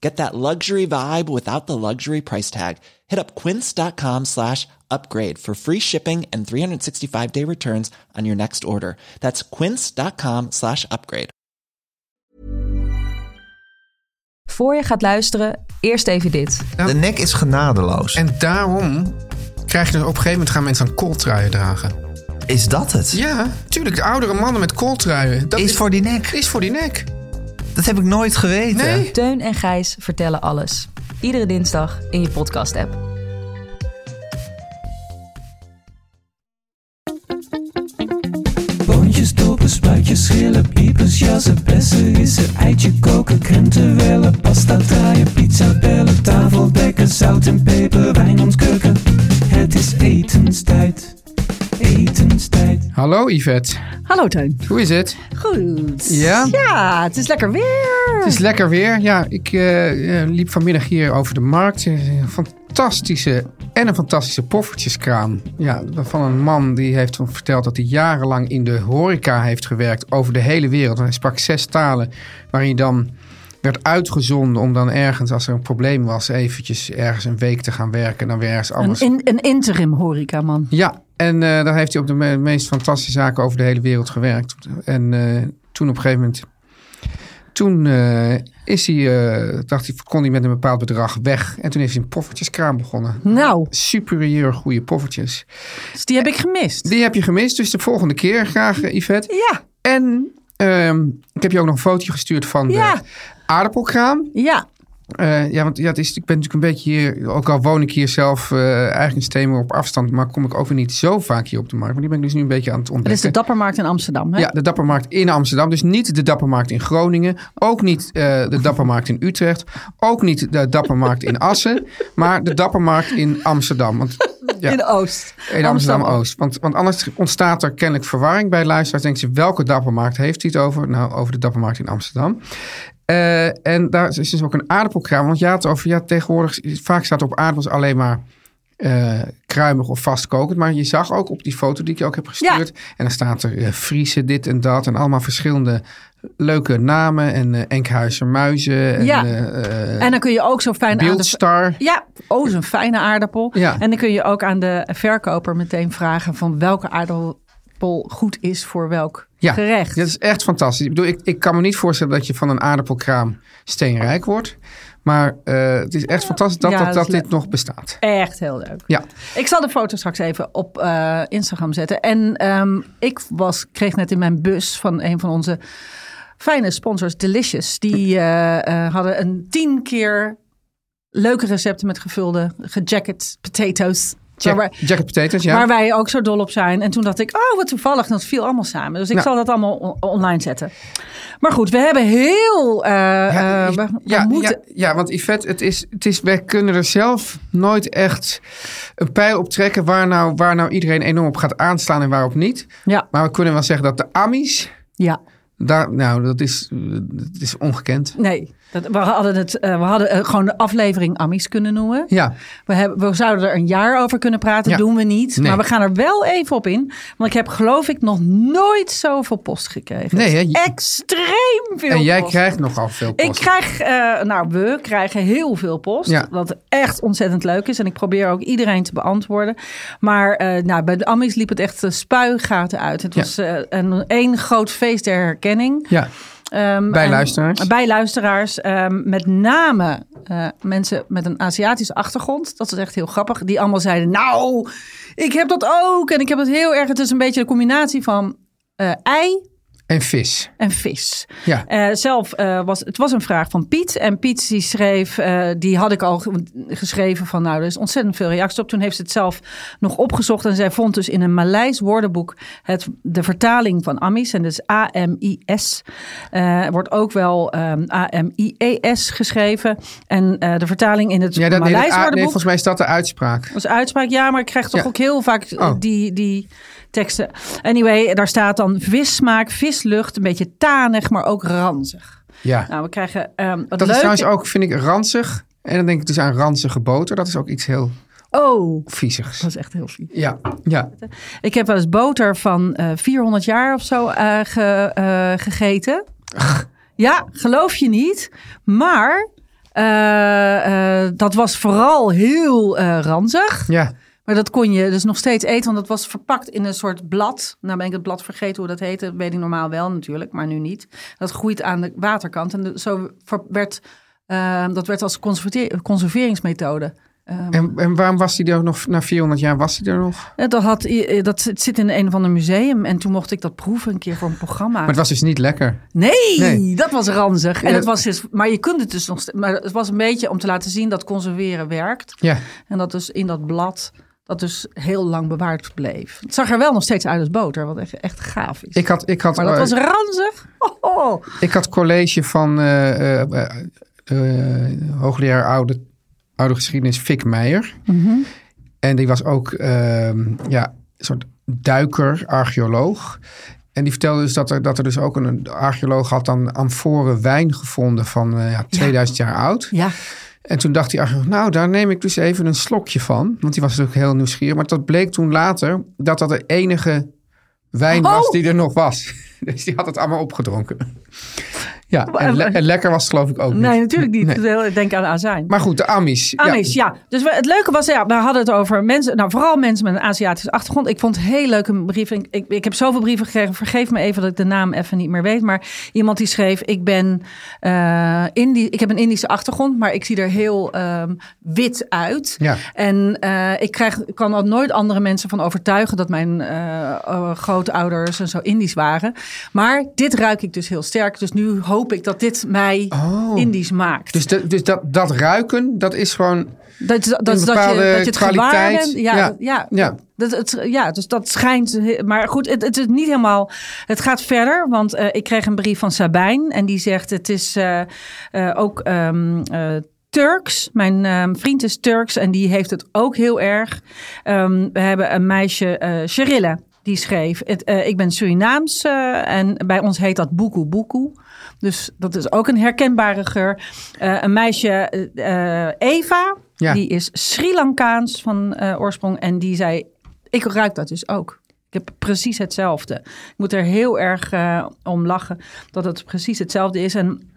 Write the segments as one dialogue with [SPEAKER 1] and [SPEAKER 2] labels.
[SPEAKER 1] Get that luxury vibe without the luxury price tag. Hit up quince.com slash upgrade for free shipping and 365 day returns on your next order. That's quince.com slash upgrade.
[SPEAKER 2] Voor je gaat luisteren, eerst even dit.
[SPEAKER 3] De nek is genadeloos.
[SPEAKER 4] En daarom krijg je dus op een gegeven moment gaan mensen aan kooltruien dragen.
[SPEAKER 3] is dat het?
[SPEAKER 4] Ja, tuurlijk. De oudere mannen met kooltruien. Dat
[SPEAKER 3] Is voor die nek.
[SPEAKER 4] Is voor die nek.
[SPEAKER 3] Dat heb ik nooit geweten.
[SPEAKER 4] Nee.
[SPEAKER 2] Teun en Gijs vertellen alles. Iedere dinsdag in je podcast-app.
[SPEAKER 5] Boontjes, dopen, spuitjes, schillen, piepers, jassen, bessen, rissen, eitje koken, krenten wellen, pasta draaien, pizza bellen, tafel dekken, zout en peper, wijn ontkurken. Het is etenstijd, etenstijd.
[SPEAKER 4] Hallo Yvette,
[SPEAKER 6] Hallo Teun.
[SPEAKER 4] hoe is het?
[SPEAKER 6] Goed.
[SPEAKER 4] Ja?
[SPEAKER 6] Ja, het is lekker weer.
[SPEAKER 4] Het is lekker weer. Ja, ik eh, eh, liep vanmiddag hier over de markt. Er is een Fantastische en een fantastische poffertjeskraam. Ja, van een man die heeft verteld dat hij jarenlang in de horeca heeft gewerkt over de hele wereld. En hij sprak zes talen waarin hij dan werd uitgezonden om dan ergens, als er een probleem was, eventjes ergens een week te gaan werken en dan weer ergens
[SPEAKER 6] Een,
[SPEAKER 4] anders.
[SPEAKER 6] in, een interim horecaman.
[SPEAKER 4] Ja, en eh, daar heeft hij op de me- meest fantastische zaken over de hele wereld gewerkt. En eh, toen op een gegeven moment. Toen eh, is hij, eh, dacht hij, kon hij met een bepaald bedrag weg. En toen heeft hij een poffertjeskraam begonnen.
[SPEAKER 6] Nou,
[SPEAKER 4] Superieur goede poffertjes.
[SPEAKER 6] dus die heb ik gemist.
[SPEAKER 4] Die heb je gemist, dus de volgende keer graag, eh, Yvette.
[SPEAKER 6] Ja,
[SPEAKER 4] En ehm, ik heb je ook nog een fotootje gestuurd van
[SPEAKER 6] Ja.
[SPEAKER 4] de aardappelkraam.
[SPEAKER 6] ja.
[SPEAKER 4] Eh, ja, want ja, het is, ik ben natuurlijk een beetje hier, ook al woon ik hier zelf eh, eigenlijk een steenworp op afstand, maar kom ik ook weer niet zo vaak hier op de markt. Maar die ben ik dus nu een beetje aan het
[SPEAKER 6] Dat is de
[SPEAKER 4] ontdekken.
[SPEAKER 6] Dappermarkt in Amsterdam. Hè?
[SPEAKER 4] ja, de Dappermarkt in Amsterdam. Dus niet de Dappermarkt in Groningen. Ook niet eh, de Dappermarkt in Utrecht. Ook niet de Dappermarkt in Assen. Maar de Dappermarkt in Amsterdam. Want, ja,
[SPEAKER 6] In Oost.
[SPEAKER 4] in Amsterdam-Oost. Want, want anders ontstaat er kennelijk verwarring bij luisteraars. Denken ze, welke Dappermarkt heeft hij het over? Nou, over de Dappermarkt in Amsterdam. Eh, en daar is dus ook een aardappelkraam. Want ja, het over, ja, tegenwoordig is- vaak staat op aardappels alleen maar eh, kruimig of vastkokend. Maar je zag ook op die foto die ik je ook heb gestuurd. En dan staat er eh Friese dit en dat. En allemaal verschillende leuke namen. En eh Enkhuizer muizen. En,
[SPEAKER 6] Ja.
[SPEAKER 4] eh, eh,
[SPEAKER 6] En dan kun je ook zo fijn aan de...
[SPEAKER 4] Beeldstar.
[SPEAKER 6] Ja, oh, zo'n fijne aardappel.
[SPEAKER 4] Ja.
[SPEAKER 6] En dan kun je ook aan de verkoper meteen vragen van welke aardappel goed is voor welk
[SPEAKER 4] Ja,
[SPEAKER 6] gerecht.
[SPEAKER 4] dat is echt fantastisch. Ik bedoel, ik, ik kan me niet voorstellen dat je van een aardappelkraam steenrijk wordt. Maar eh, het is echt fantastisch dat,
[SPEAKER 6] Ja,
[SPEAKER 4] dat,
[SPEAKER 6] dat
[SPEAKER 4] dat
[SPEAKER 6] is leuk.
[SPEAKER 4] dit nog bestaat.
[SPEAKER 6] Echt heel leuk.
[SPEAKER 4] Ja,
[SPEAKER 6] Ik zal de foto straks even op eh, Instagram zetten. En ehm, ik was, kreeg net in mijn bus van een van onze fijne sponsors, Delicious. Die eh, eh, hadden een tien keer leuke recepten met gevulde, gejacket potatoes.
[SPEAKER 4] Jack,
[SPEAKER 6] waar, wij-
[SPEAKER 4] jacket potatoes, ja.
[SPEAKER 6] waar wij ook zo dol op zijn. En toen dacht ik, oh wat toevallig, dat viel allemaal samen. Dus ik
[SPEAKER 4] Ja.
[SPEAKER 6] zal dat allemaal on- online zetten. Maar goed, we hebben heel... eh,
[SPEAKER 4] ja,
[SPEAKER 6] eh,
[SPEAKER 4] ik-
[SPEAKER 6] we, we
[SPEAKER 4] ja,
[SPEAKER 6] moeten...
[SPEAKER 4] ja, ja, want Yvette, het is, het is, wij kunnen er zelf nooit echt een pijl op trekken waar nou, waar nou iedereen enorm op gaat aanslaan en waarop niet.
[SPEAKER 6] Ja.
[SPEAKER 4] Maar we kunnen wel zeggen dat de Amis,
[SPEAKER 6] ja.
[SPEAKER 4] daar, nou, dat is, eh, dat is ongekend.
[SPEAKER 6] Nee, dat, we hadden, het, eh, we hadden eh, gewoon de aflevering Amis kunnen noemen.
[SPEAKER 4] Ja,
[SPEAKER 6] We, hebben, we zouden er een jaar over kunnen praten,
[SPEAKER 4] Ja.
[SPEAKER 6] doen we niet.
[SPEAKER 4] Nee.
[SPEAKER 6] Maar we gaan er wel even op in. Want ik heb geloof ik nog nooit zoveel post gekregen.
[SPEAKER 4] Nee, hè?
[SPEAKER 6] Het is Extreem veel
[SPEAKER 4] en jij
[SPEAKER 6] post.
[SPEAKER 4] krijgt nogal veel post.
[SPEAKER 6] Ik krijg, eh, nou we krijgen heel veel post.
[SPEAKER 4] Ja.
[SPEAKER 6] Wat echt ontzettend leuk is. En ik probeer ook iedereen te beantwoorden. Maar eh, nou, bij de Amis liep het echt de spuigaten uit. Het
[SPEAKER 4] Ja.
[SPEAKER 6] was eh, een één groot feest der herkenning.
[SPEAKER 4] Ja,
[SPEAKER 6] Ehm,
[SPEAKER 4] Bij
[SPEAKER 6] en-
[SPEAKER 4] luisteraars.
[SPEAKER 6] Bij luisteraars. ehm, met name eh, mensen met een Aziatische achtergrond. Dat is echt heel grappig. Die allemaal zeiden, nou, ik heb dat ook. En ik heb dat heel erg. Het is een beetje een combinatie van eh, ei,
[SPEAKER 4] En vis.
[SPEAKER 6] en vis.
[SPEAKER 4] Ja.
[SPEAKER 6] Eh, zelf eh, was het was een vraag van Piet. En Piet die schreef, eh, die had ik al ge- geschreven van nou, er is ontzettend veel reacties op. Toen heeft ze het zelf nog opgezocht. En zij vond dus in een Maleis woordenboek het, de vertaling van Amis. En dus A-M-I-S. eh, wordt ook wel ehm A-M-I-E-S geschreven. En eh, de vertaling in het
[SPEAKER 4] Ja, dat, nee, dat-
[SPEAKER 6] Maleis
[SPEAKER 4] ah, nee,
[SPEAKER 6] woordenboek.
[SPEAKER 4] volgens mij is dat de uitspraak.
[SPEAKER 6] Als uitspraak, ja, maar ik krijg toch
[SPEAKER 4] Ja.
[SPEAKER 6] ook heel vaak eh,
[SPEAKER 4] Oh.
[SPEAKER 6] die, die teksten. Anyway, daar staat dan vissmaak, vislucht, een beetje tanig, maar ook ranzig.
[SPEAKER 4] Ja.
[SPEAKER 6] Nou, we krijgen ehm wat
[SPEAKER 4] dat is
[SPEAKER 6] leuk.
[SPEAKER 4] trouwens ook, vind ik, ranzig. En dan denk ik dus aan ranzige boter. Dat is ook iets heel
[SPEAKER 6] Oh,
[SPEAKER 4] viezigs.
[SPEAKER 6] dat is echt heel vies.
[SPEAKER 4] Ja, ja.
[SPEAKER 6] Ik heb wel eens boter van eh 400 jaar of zo eh, ge- eh, gegeten. Ja, geloof je niet. Maar eh, eh, dat was vooral heel eh, ranzig.
[SPEAKER 4] ja.
[SPEAKER 6] Maar dat kon je dus nog steeds eten, want dat was verpakt in een soort blad. Nou ben ik het blad vergeten hoe dat heette. Dat weet ik normaal wel natuurlijk, maar nu niet. Dat groeit aan de waterkant. En de- zo ver- werd, eh, dat werd als conservate- conserveringsmethode. Ehm.
[SPEAKER 4] En, en waarom was hij er nog, na 400 jaar was hij er nog?
[SPEAKER 6] Eh, Dat, had, i- eh, dat zit- zit in een of ander museum. En toen mocht ik dat proeven een keer voor een programma.
[SPEAKER 4] Maar het was dus niet lekker.
[SPEAKER 6] Nee,
[SPEAKER 4] Nee.
[SPEAKER 6] dat was ranzig. En
[SPEAKER 4] Ja.
[SPEAKER 6] het was dus, maar je kunt het dus nog ste- Maar het was een beetje om te laten zien dat conserveren werkt.
[SPEAKER 4] Ja.
[SPEAKER 6] En dat dus in dat blad, dat dus heel lang bewaard bleef. Het zag er wel nog steeds uit als boter, wat echt, echt gaaf is.
[SPEAKER 4] Ik had, ik had,
[SPEAKER 6] maar dat
[SPEAKER 4] eh,
[SPEAKER 6] was ranzig. Oh, oh.
[SPEAKER 4] ik had college van eh, eh, eh, eh, hoogleraar oude, oude geschiedenis Fik Meijer. En die was ook ehm, ja, een soort duiker, archeoloog. En die vertelde dus dat er, dat er dus ook een- een archeoloog had dan amforen wijn gevonden van eh, ja, 2000 jaar oud.
[SPEAKER 6] Ja,
[SPEAKER 4] En toen dacht hij eigenlijk, nou, daar neem ik dus even een slokje van. Want die was natuurlijk heel nieuwsgierig. Maar dat bleek toen later dat dat de enige wijn was
[SPEAKER 6] Oh!
[SPEAKER 4] die er nog was. Dus die had het allemaal opgedronken. Ja, en,
[SPEAKER 6] Maar-
[SPEAKER 4] le- en lekker was het geloof ik ook
[SPEAKER 6] nee,
[SPEAKER 4] niet.
[SPEAKER 6] natuurlijk niet. Ik denk aan azijn.
[SPEAKER 4] Maar goed, de Amis.
[SPEAKER 6] Amis, ja. Dus we- het leuke was, ja, we hadden het over mensen, nou vooral mensen met een Aziatische achtergrond. Ik vond het heel leuk een brief. Ik, ik, ik heb zoveel brieven gekregen. Vergeef me even dat ik de naam even niet meer weet. Maar iemand die schreef: Ik ben eh, Indi ik heb een Indische achtergrond, maar ik zie er heel ehm, wit uit.
[SPEAKER 4] Ja.
[SPEAKER 6] En eh, ik krijg, ik kan ook nooit andere mensen van overtuigen dat mijn eh, eh, grootouders en zo Indisch waren. Maar dit ruik ik dus heel sterk. Dus nu hoop ik dat dit mij Indisch maakt.
[SPEAKER 4] Dus, de- dus dat, dat ruiken, dat is gewoon...
[SPEAKER 6] Dat, dat, dat,
[SPEAKER 4] Een
[SPEAKER 6] dat, je,
[SPEAKER 4] bepaalde
[SPEAKER 6] dat je het gewaar
[SPEAKER 4] kwaliteit.
[SPEAKER 6] bent. Ja,
[SPEAKER 4] Ja.
[SPEAKER 6] dat- ja.
[SPEAKER 4] Ja.
[SPEAKER 6] Dat, het, ja, dus dat schijnt. Maar goed, het, het is niet helemaal. Het gaat verder, want eh, ik kreeg een brief van Sabijn. En die zegt: Het is eh, eh, ook ehm, eh, Turks. Mijn ehm, vriend is Turks en die heeft het ook heel erg. Ehm, we hebben een meisje, eh Sherille. Die schreef, het, eh, ik ben Surinaams eh, en bij ons heet dat boekoe boekoe. Dus dat is ook een herkenbare geur. Eh, een meisje, eh, eh, Eva,
[SPEAKER 4] Ja.
[SPEAKER 6] die is Sri Lankaans van eh, oorsprong. En die zei, ik ruik dat dus ook. Ik heb precies hetzelfde. Ik moet er heel erg eh, om lachen dat het precies hetzelfde is. En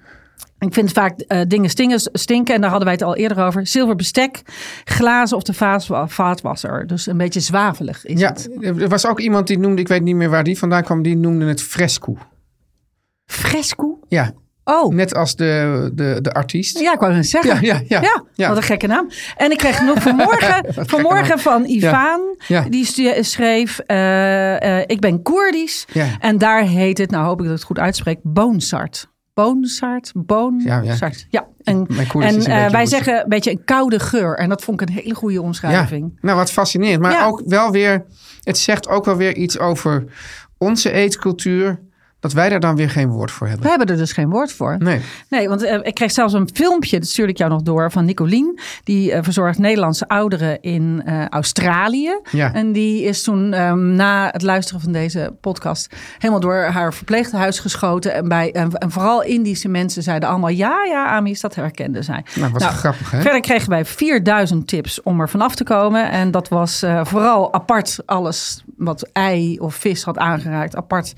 [SPEAKER 6] ik vind vaak eh, dingen stinken, stinken. En daar hadden wij het al eerder over. Zilver bestek, glazen of de vaas, vaatwasser. Dus een beetje zwavelig is
[SPEAKER 4] Ja,
[SPEAKER 6] het.
[SPEAKER 4] er was ook iemand die noemde, ik weet niet meer waar die vandaan kwam, die noemde het fresco.
[SPEAKER 6] Fresco?
[SPEAKER 4] Ja,
[SPEAKER 6] Oh,
[SPEAKER 4] net als de, de, de artiest.
[SPEAKER 6] Dus Ja, ik wou het zeggen.
[SPEAKER 4] Ja, ja, ja. Ja.
[SPEAKER 6] wat een gekke naam. En ik kreeg nog vanmorgen, vanmorgen van Ivaan.
[SPEAKER 4] Ja. Ja.
[SPEAKER 6] Die stu- schreef, eh, eh, ik ben Koerdisch.
[SPEAKER 4] Ja.
[SPEAKER 6] En daar heet het, nou hoop ik dat ik het goed uitspreek, boonsart. Boonsart,
[SPEAKER 4] Ja, ja.
[SPEAKER 6] boonsart. Ja, en,
[SPEAKER 4] Mijn
[SPEAKER 6] en
[SPEAKER 4] Koerdisch is een
[SPEAKER 6] eh,
[SPEAKER 4] beetje
[SPEAKER 6] wij
[SPEAKER 4] woest.
[SPEAKER 6] zeggen een beetje een koude geur. En dat vond ik een hele goede
[SPEAKER 4] Ja,
[SPEAKER 6] omschrijving.
[SPEAKER 4] nou wat fascinerend. Maar
[SPEAKER 6] Ja.
[SPEAKER 4] ook wel weer, het zegt ook wel weer iets over onze eetcultuur, dat wij daar dan weer geen woord voor
[SPEAKER 6] We
[SPEAKER 4] hebben.
[SPEAKER 6] hebben er dus geen woord voor.
[SPEAKER 4] Nee.
[SPEAKER 6] Nee, want eh, ik kreeg zelfs een filmpje, dat stuurde ik jou nog door, van Nicolien. Die eh, verzorgt Nederlandse ouderen in eh, Australië.
[SPEAKER 4] Ja.
[SPEAKER 6] En die is toen ehm, na het luisteren van deze podcast helemaal door haar verpleeghuis geschoten. En, bij, en, en vooral Indische mensen zeiden allemaal, ja, ja, Amis, dat herkenden zij.
[SPEAKER 4] Nou, wat grappig, hè?
[SPEAKER 6] Verder kregen wij 4000 tips om er vanaf te komen. En dat was eh, vooral apart alles wat ei of vis had aangeraakt. Apart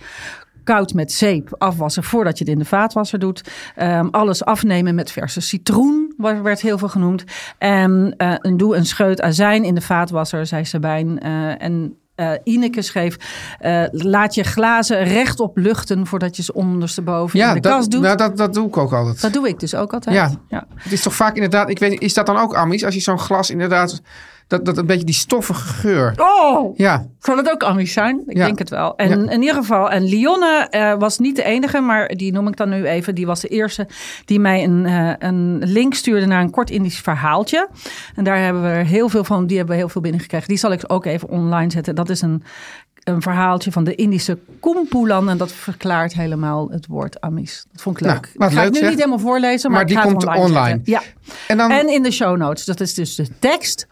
[SPEAKER 6] koud met zeep afwassen voordat je het in de vaatwasser doet. Ehm, alles afnemen met verse citroen wa- werd heel veel genoemd. En eh, een doe een scheut azijn in de vaatwasser, zei Sabijn. Eh, en eh, Ineke schreef, eh, laat je glazen rechtop luchten voordat je ze ondersteboven
[SPEAKER 4] Ja,
[SPEAKER 6] in de
[SPEAKER 4] dat,
[SPEAKER 6] kast doet.
[SPEAKER 4] nou, dat, dat doe ik ook altijd.
[SPEAKER 6] dat doe ik dus ook altijd.
[SPEAKER 4] Ja.
[SPEAKER 6] ja.
[SPEAKER 4] Het is toch vaak inderdaad, ik weet niet, is dat dan ook Amis? Als je zo'n glas inderdaad Dat, dat een beetje die stoffige geur.
[SPEAKER 6] Oh!
[SPEAKER 4] Ja,
[SPEAKER 6] Zal het ook Amish zijn? Ik
[SPEAKER 4] Ja.
[SPEAKER 6] denk het wel. En
[SPEAKER 4] Ja.
[SPEAKER 6] in ieder geval, en Lionne eh, was niet de enige, maar die noem ik dan nu even. Die was de eerste die mij een, eh, een link stuurde naar een kort Indisch verhaaltje. En daar hebben we er heel veel van. Die hebben we heel veel binnengekregen. Die zal ik ook even online zetten. Dat is een, een verhaaltje van de Indische Kumpulan. En dat verklaart helemaal het woord Amish. Dat vond ik
[SPEAKER 4] Nou,
[SPEAKER 6] leuk.
[SPEAKER 4] wat
[SPEAKER 6] ik ga
[SPEAKER 4] leuk,
[SPEAKER 6] het nu
[SPEAKER 4] zeg.
[SPEAKER 6] niet helemaal voorlezen, maar,
[SPEAKER 4] Maar
[SPEAKER 6] ik
[SPEAKER 4] die
[SPEAKER 6] ga het
[SPEAKER 4] komt
[SPEAKER 6] online.
[SPEAKER 4] online.
[SPEAKER 6] zetten. Ja.
[SPEAKER 4] en dan
[SPEAKER 6] En in de show notes. Dat is dus de tekst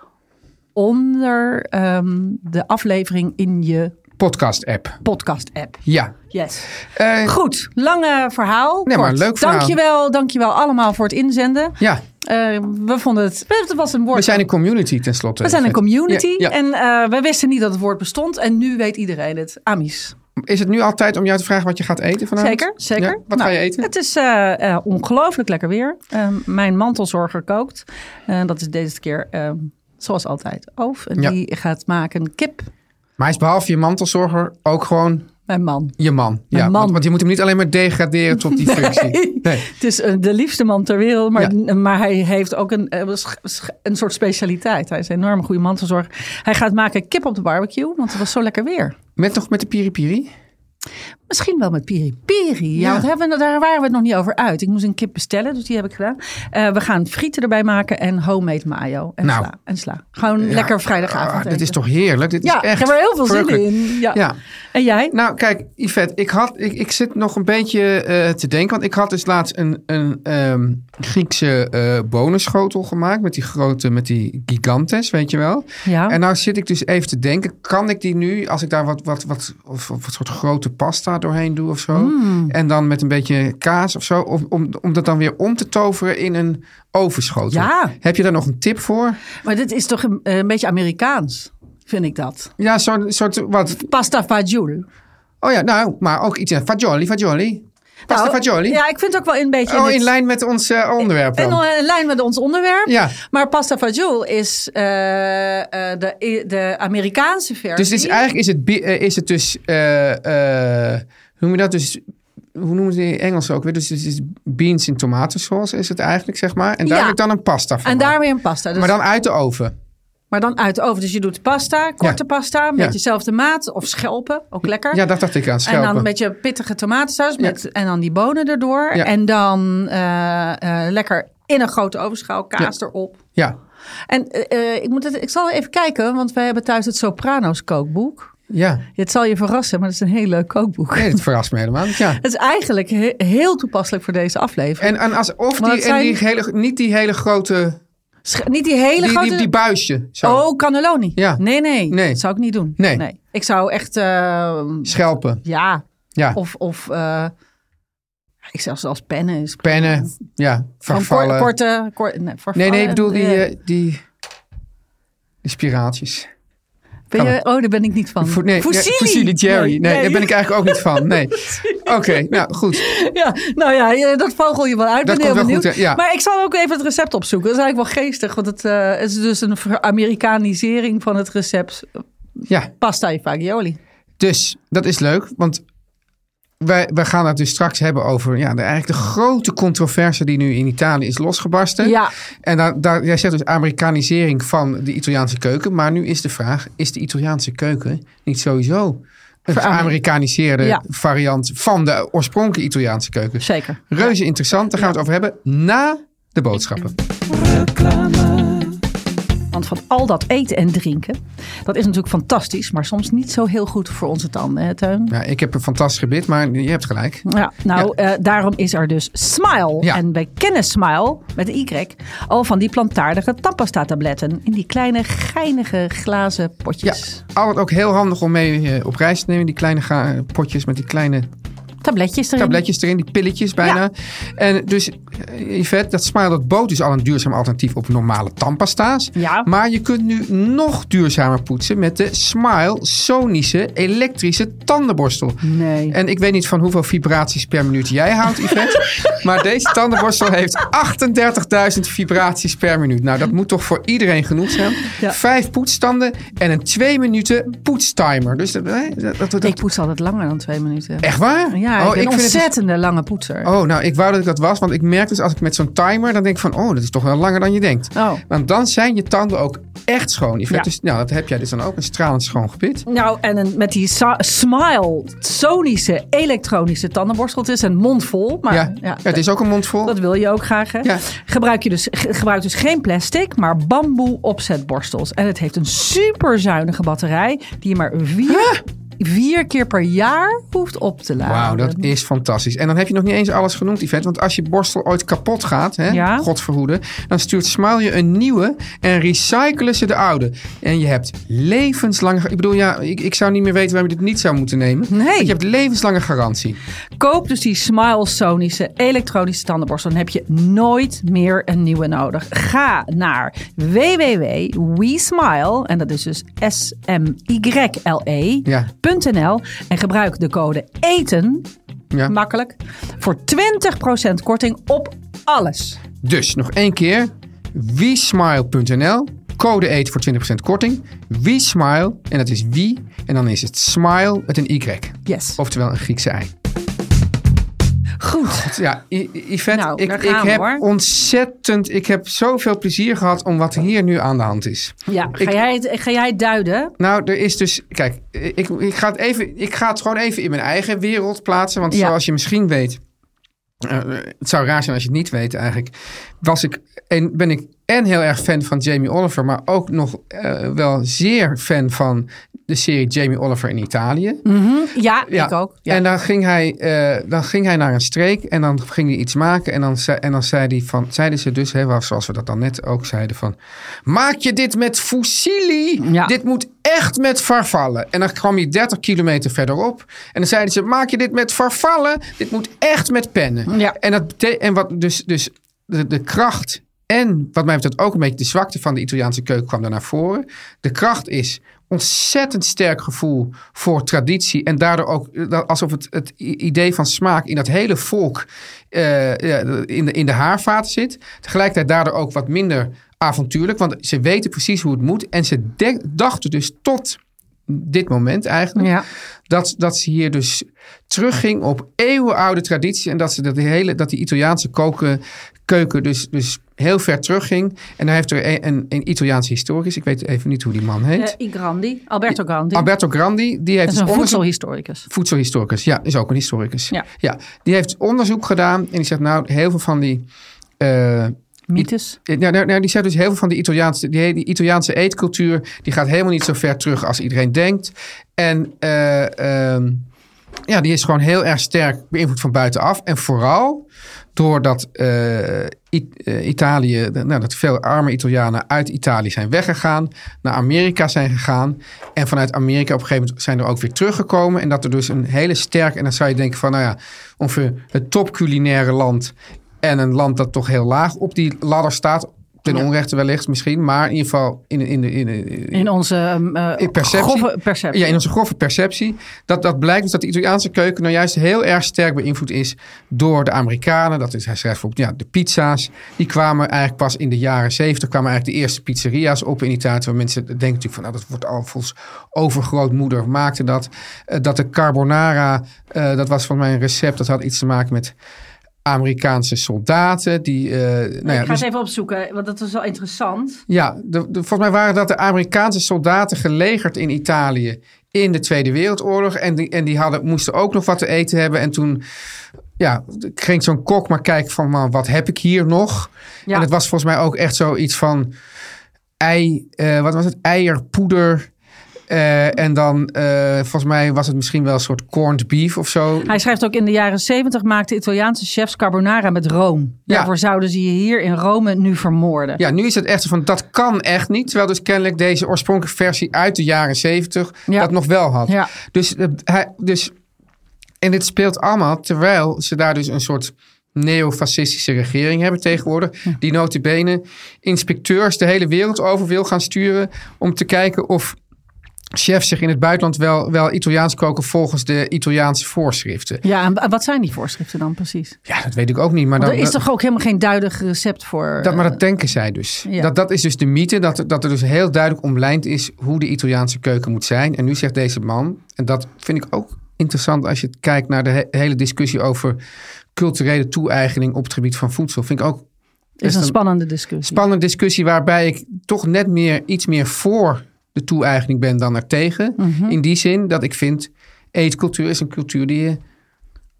[SPEAKER 6] onder ehm, de aflevering in je
[SPEAKER 4] podcast-app.
[SPEAKER 6] podcast-app.
[SPEAKER 4] Ja.
[SPEAKER 6] Yes.
[SPEAKER 4] Eh,
[SPEAKER 6] Goed, lange verhaal.
[SPEAKER 4] Nee, maar
[SPEAKER 6] kort.
[SPEAKER 4] leuk verhaal.
[SPEAKER 6] Dankjewel, dankjewel allemaal voor het inzenden.
[SPEAKER 4] ja,
[SPEAKER 6] Eh, we vonden het, het was een woord.
[SPEAKER 4] we zijn een community tenslotte.
[SPEAKER 6] We zijn een community
[SPEAKER 4] Ja, ja.
[SPEAKER 6] en eh, we wisten niet dat het woord bestond. En nu weet iedereen het. Amis.
[SPEAKER 4] Is het nu al tijd om jou te vragen wat je gaat eten vanavond?
[SPEAKER 6] Zeker, zeker.
[SPEAKER 4] Ja, Wat
[SPEAKER 6] Nou,
[SPEAKER 4] ga je eten?
[SPEAKER 6] Het is eh, eh, ongelooflijk lekker weer. Eh, mijn mantelzorger kookt. En dat is deze keer, eh, zoals altijd, Oof. En
[SPEAKER 4] Ja.
[SPEAKER 6] die gaat maken kip.
[SPEAKER 4] Maar hij is behalve je mantelzorger ook gewoon
[SPEAKER 6] Mijn man.
[SPEAKER 4] je man. Ja,
[SPEAKER 6] man.
[SPEAKER 4] Want, want je moet hem niet alleen maar degraderen tot die functie. Nee.
[SPEAKER 6] Het is eh, de liefste man ter wereld, maar,
[SPEAKER 4] Ja.
[SPEAKER 6] maar hij heeft ook een, eh, sch- sch- een soort specialiteit. Hij is een enorme goede mantelzorg. Hij gaat maken kip op de barbecue, want het was zo lekker weer.
[SPEAKER 4] Met nog met de piripiri?
[SPEAKER 6] Misschien wel met piri piri. Ja,
[SPEAKER 4] Ja.
[SPEAKER 6] want hebben we- daar waren we het nog niet over uit. Ik moest een kip bestellen, dus die heb ik gedaan. Eh, we gaan frieten erbij maken en homemade mayo en
[SPEAKER 4] Nou.
[SPEAKER 6] sla. En sla. Gewoon lekker vrijdagavond.
[SPEAKER 4] Ah, dit
[SPEAKER 6] eten.
[SPEAKER 4] is toch heerlijk? Dit
[SPEAKER 6] Ja,
[SPEAKER 4] is echt
[SPEAKER 6] ik heb er heel veel zin
[SPEAKER 4] verrukkelijk.
[SPEAKER 6] in. Ja.
[SPEAKER 4] Ja.
[SPEAKER 6] En jij?
[SPEAKER 4] Nou, kijk, Yvette, ik, had, ik, ik zit nog een beetje eh, te denken. Want ik had dus laatst een, een ehm, Griekse eh bonenschotel gemaakt. Met die grote, met die gigantes, weet je wel.
[SPEAKER 6] ja.
[SPEAKER 4] En nou zit ik dus even te denken, kan ik die nu, als ik daar wat, wat, wat, of, of wat soort grote pasta doorheen doe of zo,
[SPEAKER 6] Mm.
[SPEAKER 4] en dan met een beetje kaas of zo, of, om, om dat dan weer om te toveren in een ovenschotel.
[SPEAKER 6] Ja.
[SPEAKER 4] Heb je daar nog een tip voor?
[SPEAKER 6] maar dit is toch een, eh, een beetje Amerikaans, vind ik dat.
[SPEAKER 4] Ja, zo'n soort, wat,
[SPEAKER 6] Pasta fagioli.
[SPEAKER 4] oh ja, nou, maar ook iets, fagioli, fagioli, pasta
[SPEAKER 6] Nou,
[SPEAKER 4] fagioli.
[SPEAKER 6] Ja, ik vind het ook wel een beetje...
[SPEAKER 4] oh,
[SPEAKER 6] het-
[SPEAKER 4] in lijn met ons eh, onderwerp
[SPEAKER 6] En
[SPEAKER 4] dan.
[SPEAKER 6] dan in lijn met ons onderwerp.
[SPEAKER 4] Ja.
[SPEAKER 6] Maar pasta fagioli is eh, eh, de, de Amerikaanse versie.
[SPEAKER 4] Dus het is, eigenlijk is het, bi- eh, is het dus, eh, eh, hoe noem je dat dus... Hoe noemen ze het in Engels ook weer? Dus het is beans in tomatensaus is het eigenlijk, zeg maar. En daar
[SPEAKER 6] Ja.
[SPEAKER 4] heb ik dan een pasta van.
[SPEAKER 6] En
[SPEAKER 4] gemaakt.
[SPEAKER 6] daarmee een pasta. Dus,
[SPEAKER 4] Maar dan uit de oven.
[SPEAKER 6] maar dan uit de oven. Dus je doet pasta, korte
[SPEAKER 4] Ja.
[SPEAKER 6] pasta, met
[SPEAKER 4] Ja.
[SPEAKER 6] dezelfde maat. Of schelpen, ook lekker.
[SPEAKER 4] Ja, dat dacht ik aan.
[SPEAKER 6] en
[SPEAKER 4] Schelpen.
[SPEAKER 6] dan een beetje pittige tomatensaus met, en dan die bonen erdoor.
[SPEAKER 4] Ja.
[SPEAKER 6] En dan eh, eh, lekker in een grote ovenschaal, kaas erop.
[SPEAKER 4] Ja.
[SPEAKER 6] En eh, eh, ik, moet het, ik zal even kijken, want wij hebben thuis het Soprano's kookboek.
[SPEAKER 4] Ja.
[SPEAKER 6] Het zal je verrassen, maar het is een heel leuk kookboek.
[SPEAKER 4] Nee, dat verrast me helemaal niet. Ja.
[SPEAKER 6] Het is eigenlijk he- heel toepasselijk voor deze aflevering.
[SPEAKER 4] En, en als, of
[SPEAKER 6] Maar
[SPEAKER 4] die,
[SPEAKER 6] dat
[SPEAKER 4] en die
[SPEAKER 6] zijn-
[SPEAKER 4] hele, niet die hele grote...
[SPEAKER 6] Sch- niet die hele
[SPEAKER 4] Die,
[SPEAKER 6] grote...
[SPEAKER 4] die, die buisje. Zo.
[SPEAKER 6] Oh, cannelloni.
[SPEAKER 4] Ja.
[SPEAKER 6] Nee, nee,
[SPEAKER 4] Nee.
[SPEAKER 6] Dat zou ik niet doen.
[SPEAKER 4] Nee.
[SPEAKER 6] Ik zou echt... eh,
[SPEAKER 4] Schelpen.
[SPEAKER 6] ja.
[SPEAKER 4] Ja.
[SPEAKER 6] Of... of eh, ik zelfs als pennen is...
[SPEAKER 4] Pennen. Ja.
[SPEAKER 6] Gewoon
[SPEAKER 4] Vervallen.
[SPEAKER 6] kor- korte... Kort, nee,
[SPEAKER 4] nee, nee, ik bedoel die,
[SPEAKER 6] eh,
[SPEAKER 4] eh, die, die spiraaltjes.
[SPEAKER 6] ben je, oh, daar ben ik niet van.
[SPEAKER 4] Vo- nee,
[SPEAKER 6] Fusilli.
[SPEAKER 4] Ja, Fusilli Jerry. Nee, daar ben ik eigenlijk ook niet van. Nee. Oké, nou goed.
[SPEAKER 6] Ja, nou ja, je- dat vogel je wel uit.
[SPEAKER 4] Dat
[SPEAKER 6] ben heel
[SPEAKER 4] komt wel
[SPEAKER 6] benieuwd.
[SPEAKER 4] goed, hè? Ja.
[SPEAKER 6] Maar ik zal ook even het recept opzoeken. Dat is eigenlijk wel geestig, want het eh, is dus een Amerikanisering van het recept
[SPEAKER 4] Ja,
[SPEAKER 6] pasta e fagioli.
[SPEAKER 4] dus dat is leuk, want wij, wij gaan het dus straks hebben over ja, de, eigenlijk de grote controverse die nu in Italië is losgebarsten.
[SPEAKER 6] Ja.
[SPEAKER 4] En daar, daar, jij zegt dus Amerikanisering van de Italiaanse keuken, maar nu is de vraag, is de Italiaanse keuken niet sowieso een geamerikaniseerde
[SPEAKER 6] Ja.
[SPEAKER 4] variant van de oorspronkelijke Italiaanse keuken?
[SPEAKER 6] Zeker.
[SPEAKER 4] Reuze interessant, daar gaan we het over hebben na de boodschappen.
[SPEAKER 6] Want van al dat eten en drinken, dat is natuurlijk fantastisch, maar soms niet zo heel goed voor onze tanden, hè, Teun?
[SPEAKER 4] Ja, ik heb een fantastisch gebit, maar je hebt gelijk.
[SPEAKER 6] Ja, nou, eh, daarom is er dus Smile.
[SPEAKER 4] Ja.
[SPEAKER 6] En wij kennen Smile, met een Y, al van die plantaardige tandpasta-tabletten. In die kleine, geinige glazen
[SPEAKER 4] Ja,
[SPEAKER 6] potjes.
[SPEAKER 4] altijd ook heel handig om mee eh, op reis te nemen. Die kleine ga- potjes met die kleine
[SPEAKER 6] Tabletjes erin.
[SPEAKER 4] tabletjes erin, die pilletjes bijna. En dus, eh, Yvette, dat smaal dat boot is al een duurzaam alternatief op normale tandpasta's.
[SPEAKER 6] Ja.
[SPEAKER 4] Maar je kunt nu nog duurzamer poetsen met de Smile Sonische elektrische tandenborstel.
[SPEAKER 6] Nee.
[SPEAKER 4] En ik weet niet van hoeveel vibraties per minuut jij houdt, Yvette. maar deze tandenborstel heeft 38.000 vibraties per minuut. Nou, dat moet toch voor iedereen genoeg zijn.
[SPEAKER 6] Ja.
[SPEAKER 4] Vijf poetsstanden en een twee minuten poetstimer. Dus dat, eh, dat, dat, dat-
[SPEAKER 6] Ik poets altijd langer dan twee minuten.
[SPEAKER 4] echt waar?
[SPEAKER 6] Ja, belangrijk.
[SPEAKER 4] Oh, ik
[SPEAKER 6] een
[SPEAKER 4] vind het-
[SPEAKER 6] ontzettende lange poetser.
[SPEAKER 4] Oh, nou, ik wou dat ik dat was, want ik merk dus als ik met zo'n timer, dan denk ik van, oh, dat is toch wel langer dan je denkt.
[SPEAKER 6] Oh.
[SPEAKER 4] Want dan zijn je tanden ook echt schoon. Yvette.
[SPEAKER 6] Ja.
[SPEAKER 4] Dus, nou, dat heb jij dus dan ook, een stralend schoon gebit.
[SPEAKER 6] Nou, en een- met die sa- smile, sonische, elektronische tandenborsteltjes en mond vol. Maar
[SPEAKER 4] ja.
[SPEAKER 6] ja,
[SPEAKER 4] Ja, het is ook een mond vol.
[SPEAKER 6] dat wil je ook graag. Hè?
[SPEAKER 4] Ja.
[SPEAKER 6] Gebruik, je dus, ge- gebruik dus geen plastic, maar bamboe opzetborstels. En het heeft een superzuinige batterij die je maar vier, vier keer per jaar hoeft op te laden.
[SPEAKER 4] Wauw, dat is fantastisch. En dan heb je nog niet eens alles genoemd, Yvette. Want als je borstel ooit kapot gaat, hè,
[SPEAKER 6] Ja.
[SPEAKER 4] God verhoede, dan stuurt Smile je een nieuwe en recyclen ze de oude. En je hebt levenslange... Ik bedoel, ja, ik, ik zou niet meer weten waarom je dit niet zou moeten nemen.
[SPEAKER 6] Nee.
[SPEAKER 4] Want je hebt levenslange garantie.
[SPEAKER 6] Koop dus die Smile Sonische elektronische tandenborstel. Dan heb je nooit meer een nieuwe nodig. Ga naar www.wesmile, en dat is dus S-M-Y-L-E,
[SPEAKER 4] Ja.
[SPEAKER 6] .nl en gebruik de code E ETEN,
[SPEAKER 4] Ja.
[SPEAKER 6] makkelijk, voor 20% korting op alles.
[SPEAKER 4] Dus nog één keer: wiesmile.nl. Code eet voor 20% korting. Wiesmile, en dat is wie, en dan is het smile met een y.
[SPEAKER 6] Yes.
[SPEAKER 4] Oftewel een Griekse ei.
[SPEAKER 6] Goed.
[SPEAKER 4] Ja, I- I- Yvette,
[SPEAKER 6] Nou,
[SPEAKER 4] ik,
[SPEAKER 6] daar
[SPEAKER 4] ik
[SPEAKER 6] gaan we,
[SPEAKER 4] heb
[SPEAKER 6] hoor.
[SPEAKER 4] ontzettend, ik heb zoveel plezier gehad om wat hier nu aan de hand is.
[SPEAKER 6] Ja, ga,
[SPEAKER 4] Ik-
[SPEAKER 6] jij het, ga jij het duiden?
[SPEAKER 4] Nou, er is dus, kijk, ik, ik, ga het even, ik ga het gewoon even in mijn eigen wereld plaatsen. Want
[SPEAKER 6] Ja.
[SPEAKER 4] zoals je misschien weet, eh, het zou raar zijn als je het niet weet eigenlijk, was ik en ben ik en heel erg fan van Jamie Oliver, maar ook nog eh, wel zeer fan van de serie Jamie Oliver in Italië.
[SPEAKER 6] Ja, ik ook. Ja.
[SPEAKER 4] En dan ging, hij, eh, dan ging hij naar een streek en dan ging hij iets maken. En dan, zei- en dan zei hij van, zeiden ze dus, hè, waar- zoals we dat dan net ook zeiden, van... Maak je dit met fusilli?
[SPEAKER 6] Ja.
[SPEAKER 4] Dit moet echt met farvallen. En dan kwam hij 30 kilometer verderop. En dan zeiden ze, maak je dit met farvallen? Dit moet echt met pennen.
[SPEAKER 6] Ja.
[SPEAKER 4] En, dat bete- en wat dus, dus de, de kracht en wat mij betreft ook een beetje de zwakte van de Italiaanse keuken kwam daar naar voren. De kracht is ontzettend sterk gevoel voor traditie. En daardoor ook eh, dat- alsof het, het i- idee van smaak in dat hele volk eh, ja, in, de, in de haarvaten zit. Tegelijkertijd daardoor ook wat minder avontuurlijk. Want ze weten precies hoe het moet. En ze denk- dachten dus tot dit moment eigenlijk
[SPEAKER 6] Ja.
[SPEAKER 4] dat, dat ze hier dus terugging op eeuwenoude traditie. En dat, ze dat, die, hele, dat die Italiaanse koken, keuken dus, dus heel ver terugging. En daar heeft er een, een, een Italiaanse historicus, ik weet even niet hoe die man
[SPEAKER 6] Eh,
[SPEAKER 4] heet.
[SPEAKER 6] I Grandi, Alberto Grandi.
[SPEAKER 4] Alberto Grandi, die heeft
[SPEAKER 6] dat is
[SPEAKER 4] dus
[SPEAKER 6] een
[SPEAKER 4] onderzoek-
[SPEAKER 6] voedselhistoricus.
[SPEAKER 4] voedselhistoricus, ja, is ook een historicus.
[SPEAKER 6] Ja.
[SPEAKER 4] die heeft onderzoek gedaan en die zegt nou, heel veel van die... eh,
[SPEAKER 6] Mythes.
[SPEAKER 4] eh, Nou, nou, nou, die zei dus heel veel van die Italiaanse, die, die Italiaanse eetcultuur, die gaat helemaal niet zo ver terug als iedereen denkt. En eh, ehm, ja, die is gewoon heel erg sterk beïnvloed van buitenaf. En vooral doordat eh, I- eh, Italië, nou, dat veel arme Italianen uit Italië zijn weggegaan, naar Amerika zijn gegaan. En vanuit Amerika op een gegeven moment zijn er ook weer teruggekomen. En dat er dus een hele sterk, en dan zou je denken van, nou ja, ongeveer het topculinaire land en een land dat toch heel laag op die ladder staat. Ten onrechte wellicht misschien, maar in ieder geval in, in, de- in, in,
[SPEAKER 6] In onze ehm, eh,
[SPEAKER 4] in perceptie.
[SPEAKER 6] grove perceptie.
[SPEAKER 4] Ja, in onze grove perceptie. Dat, dat blijkt dus dat de Italiaanse keuken nou juist heel erg sterk beïnvloed is door de Amerikanen. Dat is, hij schrijft bijvoorbeeld, ja, de pizza's. Die kwamen eigenlijk pas in de jaren zeventig, kwamen eigenlijk de eerste pizzeria's op in Italië. Waar mensen denken natuurlijk van, nou, dat wordt al volgens overgrootmoeder maakte dat. Eh, dat de carbonara, eh, dat was van mijn recept, dat had iets te maken met... Amerikaanse soldaten die. eh, nou ja,
[SPEAKER 6] ik ga
[SPEAKER 4] dus-
[SPEAKER 6] eens even opzoeken, want dat is wel interessant.
[SPEAKER 4] ja, de, de- volgens mij waren dat de Amerikaanse soldaten gelegerd in Italië in de Tweede Wereldoorlog. En die, en die hadden, moesten ook nog wat te eten hebben. En toen ja, ging zo'n kok maar kijken van, man, wat heb ik hier nog?
[SPEAKER 6] Ja.
[SPEAKER 4] En het was volgens mij ook echt zoiets van ei, eh, wat was het? Eierpoeder. eh, en dan, eh, volgens mij was het misschien wel een soort corned beef of zo.
[SPEAKER 6] Hij schrijft ook in de jaren 70 maakten Italiaanse chefs carbonara met room.
[SPEAKER 4] Ja.
[SPEAKER 6] Daarvoor zouden ze je hier in Rome nu vermoorden.
[SPEAKER 4] Ja, nu is het echt zo van, dat kan echt niet. Terwijl dus kennelijk deze oorspronkelijke versie uit de jaren zeventig
[SPEAKER 6] Ja.
[SPEAKER 4] dat nog wel had.
[SPEAKER 6] Ja.
[SPEAKER 4] Dus, eh, hij, dus, en dit speelt allemaal terwijl ze daar dus een soort neofascistische regering hebben tegenwoordig. Die notabene inspecteurs de hele wereld over wil gaan sturen om te kijken of chefs zich in het buitenland wel, wel Italiaans koken volgens de Italiaanse voorschriften.
[SPEAKER 6] Ja, en wa- wat zijn die voorschriften dan precies?
[SPEAKER 4] Ja, dat weet ik ook niet. Maar
[SPEAKER 6] Want
[SPEAKER 4] dan,
[SPEAKER 6] er is toch ook helemaal geen duidelijk recept voor.
[SPEAKER 4] Dat, maar dat denken zij dus.
[SPEAKER 6] ja.
[SPEAKER 4] Dat, dat is dus de mythe, dat, er- dat er dus heel duidelijk omlijnd is hoe de Italiaanse keuken moet zijn. En nu zegt deze man, en dat vind ik ook interessant als je kijkt naar de he- hele discussie over culturele toe-eigening op het gebied van voedsel. Vind ik ook
[SPEAKER 6] is
[SPEAKER 4] best
[SPEAKER 6] een
[SPEAKER 4] een-
[SPEAKER 6] spannende discussie.
[SPEAKER 4] spannende discussie waarbij ik toch net meer, iets meer voor de toe-eigening ben dan er tegen.
[SPEAKER 6] Mhm.
[SPEAKER 4] In die zin dat ik vind, eetcultuur is een cultuur die je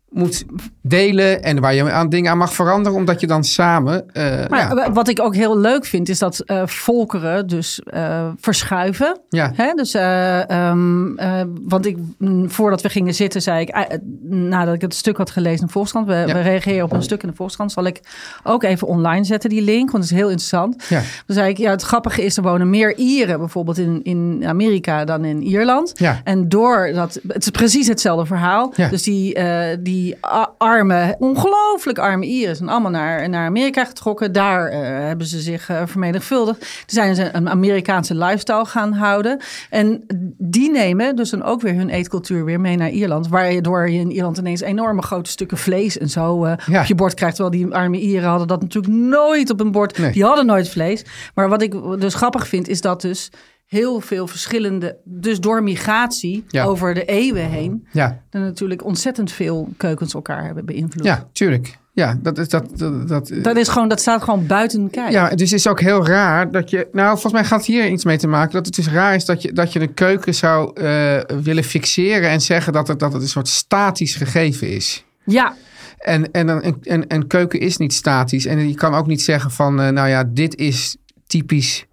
[SPEAKER 4] moet delen en waar je aan dingen aan mag veranderen, omdat je dan samen. eh,
[SPEAKER 6] Maar
[SPEAKER 4] ja,
[SPEAKER 6] w- wat ik ook heel leuk vind, is dat eh, volkeren dus eh, verschuiven.
[SPEAKER 4] Ja.
[SPEAKER 6] Hè? Dus, eh, ehm, eh, want ik, mm, voordat we gingen zitten, zei ik, eh, eh, nadat ik het stuk had gelezen in de Volkskrant, we, we reageren op een stuk in de Volkskrant, zal ik ook even online zetten die link, want het is heel interessant.
[SPEAKER 4] Ja.
[SPEAKER 6] Toen zei ik, ja, het grappige is, er wonen meer Ieren bijvoorbeeld in, in Amerika dan in Ierland.
[SPEAKER 4] Ja.
[SPEAKER 6] En door dat, het is precies hetzelfde verhaal.
[SPEAKER 4] Ja.
[SPEAKER 6] Dus die, eh, die a- arme, ongelooflijk arme Ieren zijn allemaal naar, naar Amerika getrokken. Daar eh, hebben ze zich eh, vermenigvuldigd. Toen zijn ze een Amerikaanse lifestyle gaan houden. En die nemen dus dan ook weer hun eetcultuur weer mee naar Ierland. Waardoor je in Ierland ineens enorme grote stukken vlees en zo eh,
[SPEAKER 4] Ja.
[SPEAKER 6] op je bord krijgt. Terwijl die arme Ieren hadden dat natuurlijk nooit op hun bord.
[SPEAKER 4] Nee.
[SPEAKER 6] Die hadden nooit vlees. Maar wat ik dus grappig vind, is dat dus heel veel verschillende... Dus door migratie
[SPEAKER 4] Ja.
[SPEAKER 6] over de eeuwen heen...
[SPEAKER 4] ja,
[SPEAKER 6] er natuurlijk ontzettend veel keukens elkaar hebben beïnvloed.
[SPEAKER 4] ja, tuurlijk. Ja, dat is dat. dat, dat eh,
[SPEAKER 6] Dat, is gewoon, dat staat gewoon buiten kijf.
[SPEAKER 4] ja, dus het is ook heel raar dat je. Nou, volgens mij gaat hier iets mee te maken. Dat het dus raar is dat je, dat je de keuken zou eh, willen fixeren en zeggen dat het, dat het een soort statisch gegeven is.
[SPEAKER 6] Ja,
[SPEAKER 4] En, en, en, en, en keuken is niet statisch. En je kan ook niet zeggen van, eh, nou ja, dit is typisch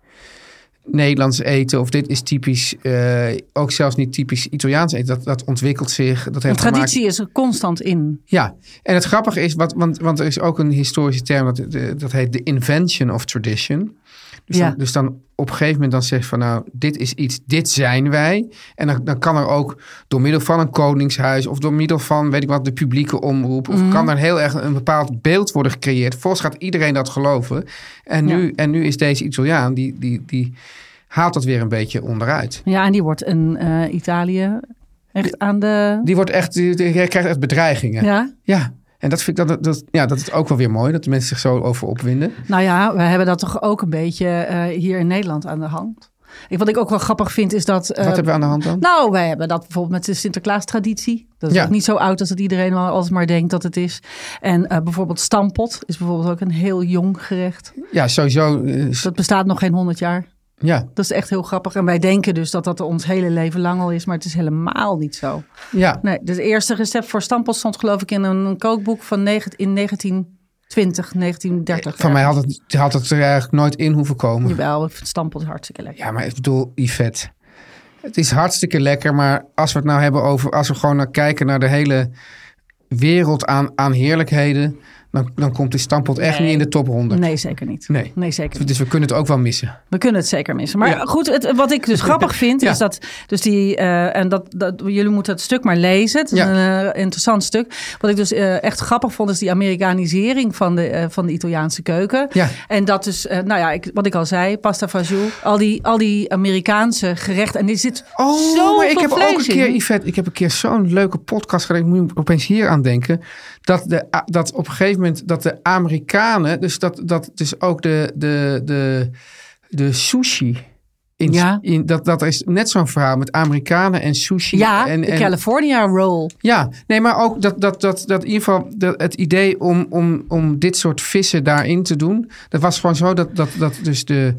[SPEAKER 4] Nederlands eten. Of dit is typisch, eh, ook zelfs niet typisch Italiaans eten. Dat, dat ontwikkelt zich. Dat
[SPEAKER 6] de
[SPEAKER 4] heeft te maken-
[SPEAKER 6] traditie is er constant in.
[SPEAKER 4] Ja, en het grappige is, wat, want, want er is ook een historische term, dat, de- dat heet de invention of tradition. Dus,
[SPEAKER 6] Ja.
[SPEAKER 4] dan, dus dan op een gegeven moment dan zeg je van nou, dit is iets, dit zijn wij. En dan, dan kan er ook door middel van een koningshuis of door middel van, weet ik wat, de publieke omroep.
[SPEAKER 6] Mhm.
[SPEAKER 4] Of kan er heel erg een bepaald beeld worden gecreëerd. Volgens gaat iedereen dat geloven. En nu, en nu is deze Italiaan, die, die, die haalt dat weer een beetje onderuit.
[SPEAKER 6] Ja, en die wordt in eh, Italië echt aan de...
[SPEAKER 4] Die wordt echt, die, die krijgt echt bedreigingen.
[SPEAKER 6] ja,
[SPEAKER 4] Ja, en dat vind ik dat, dat, ja, dat is ook wel weer mooi dat de mensen zich zo over opwinden.
[SPEAKER 6] nou ja, we hebben dat toch ook een beetje eh, hier in Nederland aan de hand. Ik, wat ik ook wel grappig vind is dat... eh,
[SPEAKER 4] Wat hebben we aan de hand dan?
[SPEAKER 6] Nou, wij hebben dat bijvoorbeeld met de Sinterklaas-traditie. Dat is
[SPEAKER 4] Ja.
[SPEAKER 6] ook niet zo oud als dat iedereen wel altijd maar denkt dat het is. En eh, bijvoorbeeld stampot is bijvoorbeeld ook een heel jong gerecht.
[SPEAKER 4] ja, sowieso. eh, s-
[SPEAKER 6] Dat bestaat nog geen honderd jaar.
[SPEAKER 4] ja,
[SPEAKER 6] Dat is echt heel grappig. En wij denken dus dat dat ons hele leven lang al is, maar het is helemaal niet zo.
[SPEAKER 4] ja,
[SPEAKER 6] Nee, het eerste recept voor stampot stond geloof ik in een kookboek van negen- in 1920, 1930.
[SPEAKER 4] van mij had het, had het er eigenlijk nooit in hoeven komen.
[SPEAKER 6] Jawel, ik vind stampot hartstikke lekker.
[SPEAKER 4] Ja, maar ik bedoel, Yvette. Het is hartstikke lekker, maar als we het nou hebben over... als we gewoon naar kijken naar de hele wereld aan, aan heerlijkheden... dan, dan komt die stampot echt niet in de top 100.
[SPEAKER 6] Nee, zeker niet.
[SPEAKER 4] Nee.
[SPEAKER 6] nee zeker niet.
[SPEAKER 4] Dus we kunnen het ook wel missen.
[SPEAKER 6] We kunnen het zeker missen. Maar
[SPEAKER 4] Ja.
[SPEAKER 6] goed, het, wat ik dus grappig vind,
[SPEAKER 4] Ja.
[SPEAKER 6] is dat. Dus die, eh, en dat, dat, jullie moeten het stuk maar lezen. Het is
[SPEAKER 4] Ja.
[SPEAKER 6] een eh, interessant stuk. Wat ik dus eh, echt grappig vond, is die Amerikanisering van de, eh, van de Italiaanse keuken.
[SPEAKER 4] Ja.
[SPEAKER 6] En dat dus, eh, nou ja, ik, wat ik al zei, pasta fagioli, al die, al die Amerikaanse gerechten. En die zit
[SPEAKER 4] Oh,
[SPEAKER 6] zo
[SPEAKER 4] maar ik heb ook een keer,
[SPEAKER 6] in.
[SPEAKER 4] Yvette, ik heb een keer zo'n leuke podcast gedaan. Ik moet opeens hier aan denken. Dat, de, A- dat op een gegeven moment dat de Amerikanen, dus dat, dat dus ook de, de, de, de sushi. In,
[SPEAKER 6] Ja.
[SPEAKER 4] in, dat, dat is net zo'n verhaal met Amerikanen en sushi.
[SPEAKER 6] Ja,
[SPEAKER 4] en,
[SPEAKER 6] de
[SPEAKER 4] en-
[SPEAKER 6] California roll.
[SPEAKER 4] ja, nee, maar ook dat, dat, dat, dat in ieder geval dat, het idee om, om, om dit soort vissen daarin te doen. Dat was gewoon zo dat, dat, dat dus de,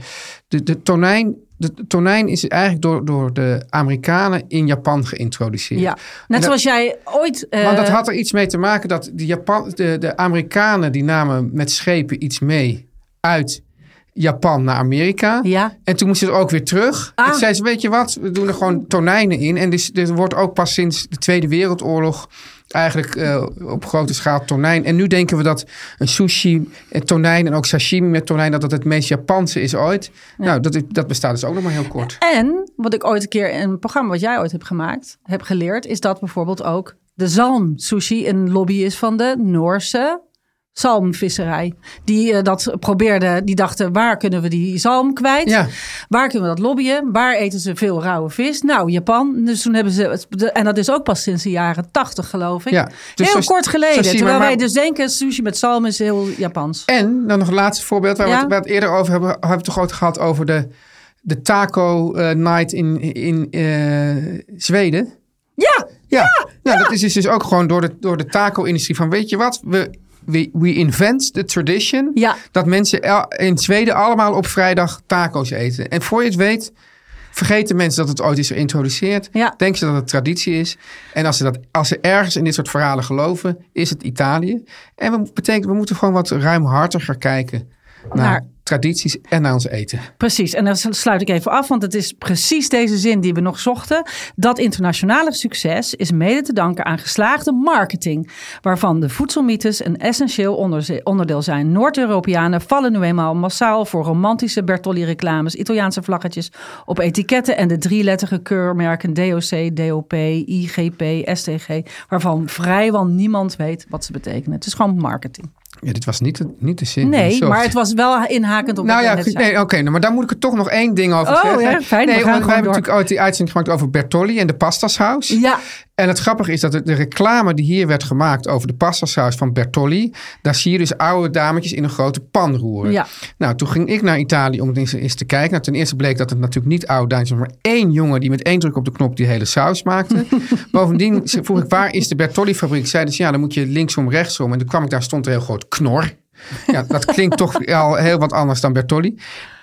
[SPEAKER 4] de, de tonijn. De de tonijn is eigenlijk door, door de Amerikanen in Japan geïntroduceerd.
[SPEAKER 6] Ja.
[SPEAKER 4] En
[SPEAKER 6] Net
[SPEAKER 4] dat-
[SPEAKER 6] zoals jij ooit. eh,
[SPEAKER 4] Want dat had er iets mee te maken dat de, Japan, de, de Amerikanen die namen met schepen iets mee uit Japan naar Amerika.
[SPEAKER 6] Ja.
[SPEAKER 4] En toen moesten ze er ook weer terug.
[SPEAKER 6] Ah.
[SPEAKER 4] En toen zei ze, weet je wat, we doen er gewoon tonijnen in. En dus, er wordt ook pas sinds de Tweede Wereldoorlog eigenlijk eh, op grote schaal tonijn. En nu denken we dat een sushi, en tonijn en ook sashimi met tonijn... dat dat het meest Japanse is ooit. Nou, dat, is- dat bestaat dus ook nog maar heel kort.
[SPEAKER 6] En wat ik ooit een keer in een programma wat jij ooit hebt gemaakt, heb geleerd, is dat bijvoorbeeld ook de zalm sushi een lobby is van de Noorse zalmvisserij. Die eh, dat probeerden, die dachten waar kunnen we die zalm kwijt?
[SPEAKER 4] Ja.
[SPEAKER 6] Waar kunnen we dat lobbyen? Waar eten ze veel rauwe vis? Nou, Japan. Dus toen hebben ze, het- de- en dat is ook pas sinds de jaren tachtig geloof ik.
[SPEAKER 4] Ja, dus
[SPEAKER 6] heel
[SPEAKER 4] zo-
[SPEAKER 6] kort geleden.
[SPEAKER 4] zo zie je
[SPEAKER 6] terwijl
[SPEAKER 4] maar-
[SPEAKER 6] wij dus denken sushi met zalm is heel Japans.
[SPEAKER 4] En dan nog een laatste voorbeeld waar we
[SPEAKER 6] Ja.
[SPEAKER 4] het- waar we het eerder over hebben. Hebben we het toch ooit gehad over de, de taco eh, night in, in eh, Zweden?
[SPEAKER 6] Ja,
[SPEAKER 4] Ja, nou, dat is dus- dus ook gewoon door de, door de taco-industrie. Van weet je wat, we, we, we invent the tradition.
[SPEAKER 6] Ja.
[SPEAKER 4] Dat mensen el- in Zweden allemaal op vrijdag taco's eten. En voor je het weet, vergeten mensen dat het ooit is geïntroduceerd.
[SPEAKER 6] Ja.
[SPEAKER 4] Denken ze dat het traditie is. En als ze, dat, als ze ergens in dit soort verhalen geloven, is het Italië. En we, betekent, we moeten gewoon wat ruimhartiger kijken naar,
[SPEAKER 6] Naar-
[SPEAKER 4] tradities en naar ons eten.
[SPEAKER 6] Precies, en dan sluit ik even af, want het is precies deze zin die we nog zochten. Dat internationale succes is mede te danken aan geslaagde marketing, waarvan de voedselmythes een essentieel onderze- onderdeel zijn. Noord-Europeanen vallen nu eenmaal massaal voor romantische Bertolli-reclames, Italiaanse vlaggetjes op etiketten en de drieletterige keurmerken DOC, DOP, IGP, STG, waarvan vrijwel niemand weet wat ze betekenen. Het is gewoon marketing.
[SPEAKER 4] Ja, dit was niet de, niet de zin. die we
[SPEAKER 6] Nee,
[SPEAKER 4] zochten.
[SPEAKER 6] maar het was wel inhakend op
[SPEAKER 4] Nou
[SPEAKER 6] wat
[SPEAKER 4] ja,
[SPEAKER 6] we net
[SPEAKER 4] nee,
[SPEAKER 6] zeiden.
[SPEAKER 4] oké, nou, maar daar moet ik er toch nog één ding over
[SPEAKER 6] Oh,
[SPEAKER 4] zeggen.
[SPEAKER 6] ja, fijn, we
[SPEAKER 4] nee,
[SPEAKER 6] gaan
[SPEAKER 4] want
[SPEAKER 6] gewoon
[SPEAKER 4] wij hebben
[SPEAKER 6] door.
[SPEAKER 4] natuurlijk ooit die uitzending gemaakt over Bertolli en de pastasaus.
[SPEAKER 6] Ja.
[SPEAKER 4] En het grappige is dat de, de reclame die hier werd gemaakt over de pastasaus van Bertolli, daar zie je dus oude dametjes in een grote pan roeren.
[SPEAKER 6] Ja.
[SPEAKER 4] Nou, toen ging ik naar Italië om het eens, eens te kijken. Nou, ten eerste bleek dat het natuurlijk niet oude dametjes was, maar één jongen die met één druk op de knop die hele saus maakte. Bovendien ze- vroeg ik, waar is de Bertolli-fabriek? Zeiden ze, ja, dan moet je linksom, rechtsom. En toen kwam ik daar, stond er heel groot knor. Ja, dat klinkt toch al heel wat anders dan Bertolli.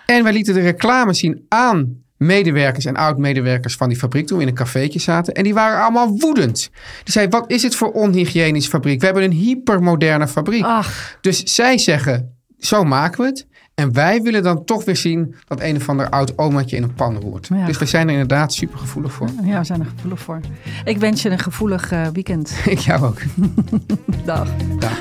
[SPEAKER 4] En wij lieten de reclame zien aan medewerkers en oud-medewerkers van die fabriek toen we in een cafeetje zaten. En die waren allemaal woedend. Die zeiden, wat is dit voor onhygiënisch fabriek? We hebben een hypermoderne fabriek.
[SPEAKER 6] Ach.
[SPEAKER 4] Dus zij zeggen, zo maken we het. En wij willen dan toch weer zien dat een of ander oud omaatje in een pan roert.
[SPEAKER 6] Ja.
[SPEAKER 4] Dus we zijn er inderdaad super gevoelig voor.
[SPEAKER 6] Ja, we zijn er gevoelig voor. Ik wens je een gevoelig eh, weekend.
[SPEAKER 4] Ik jou ook.
[SPEAKER 6] Dag.
[SPEAKER 4] Dag.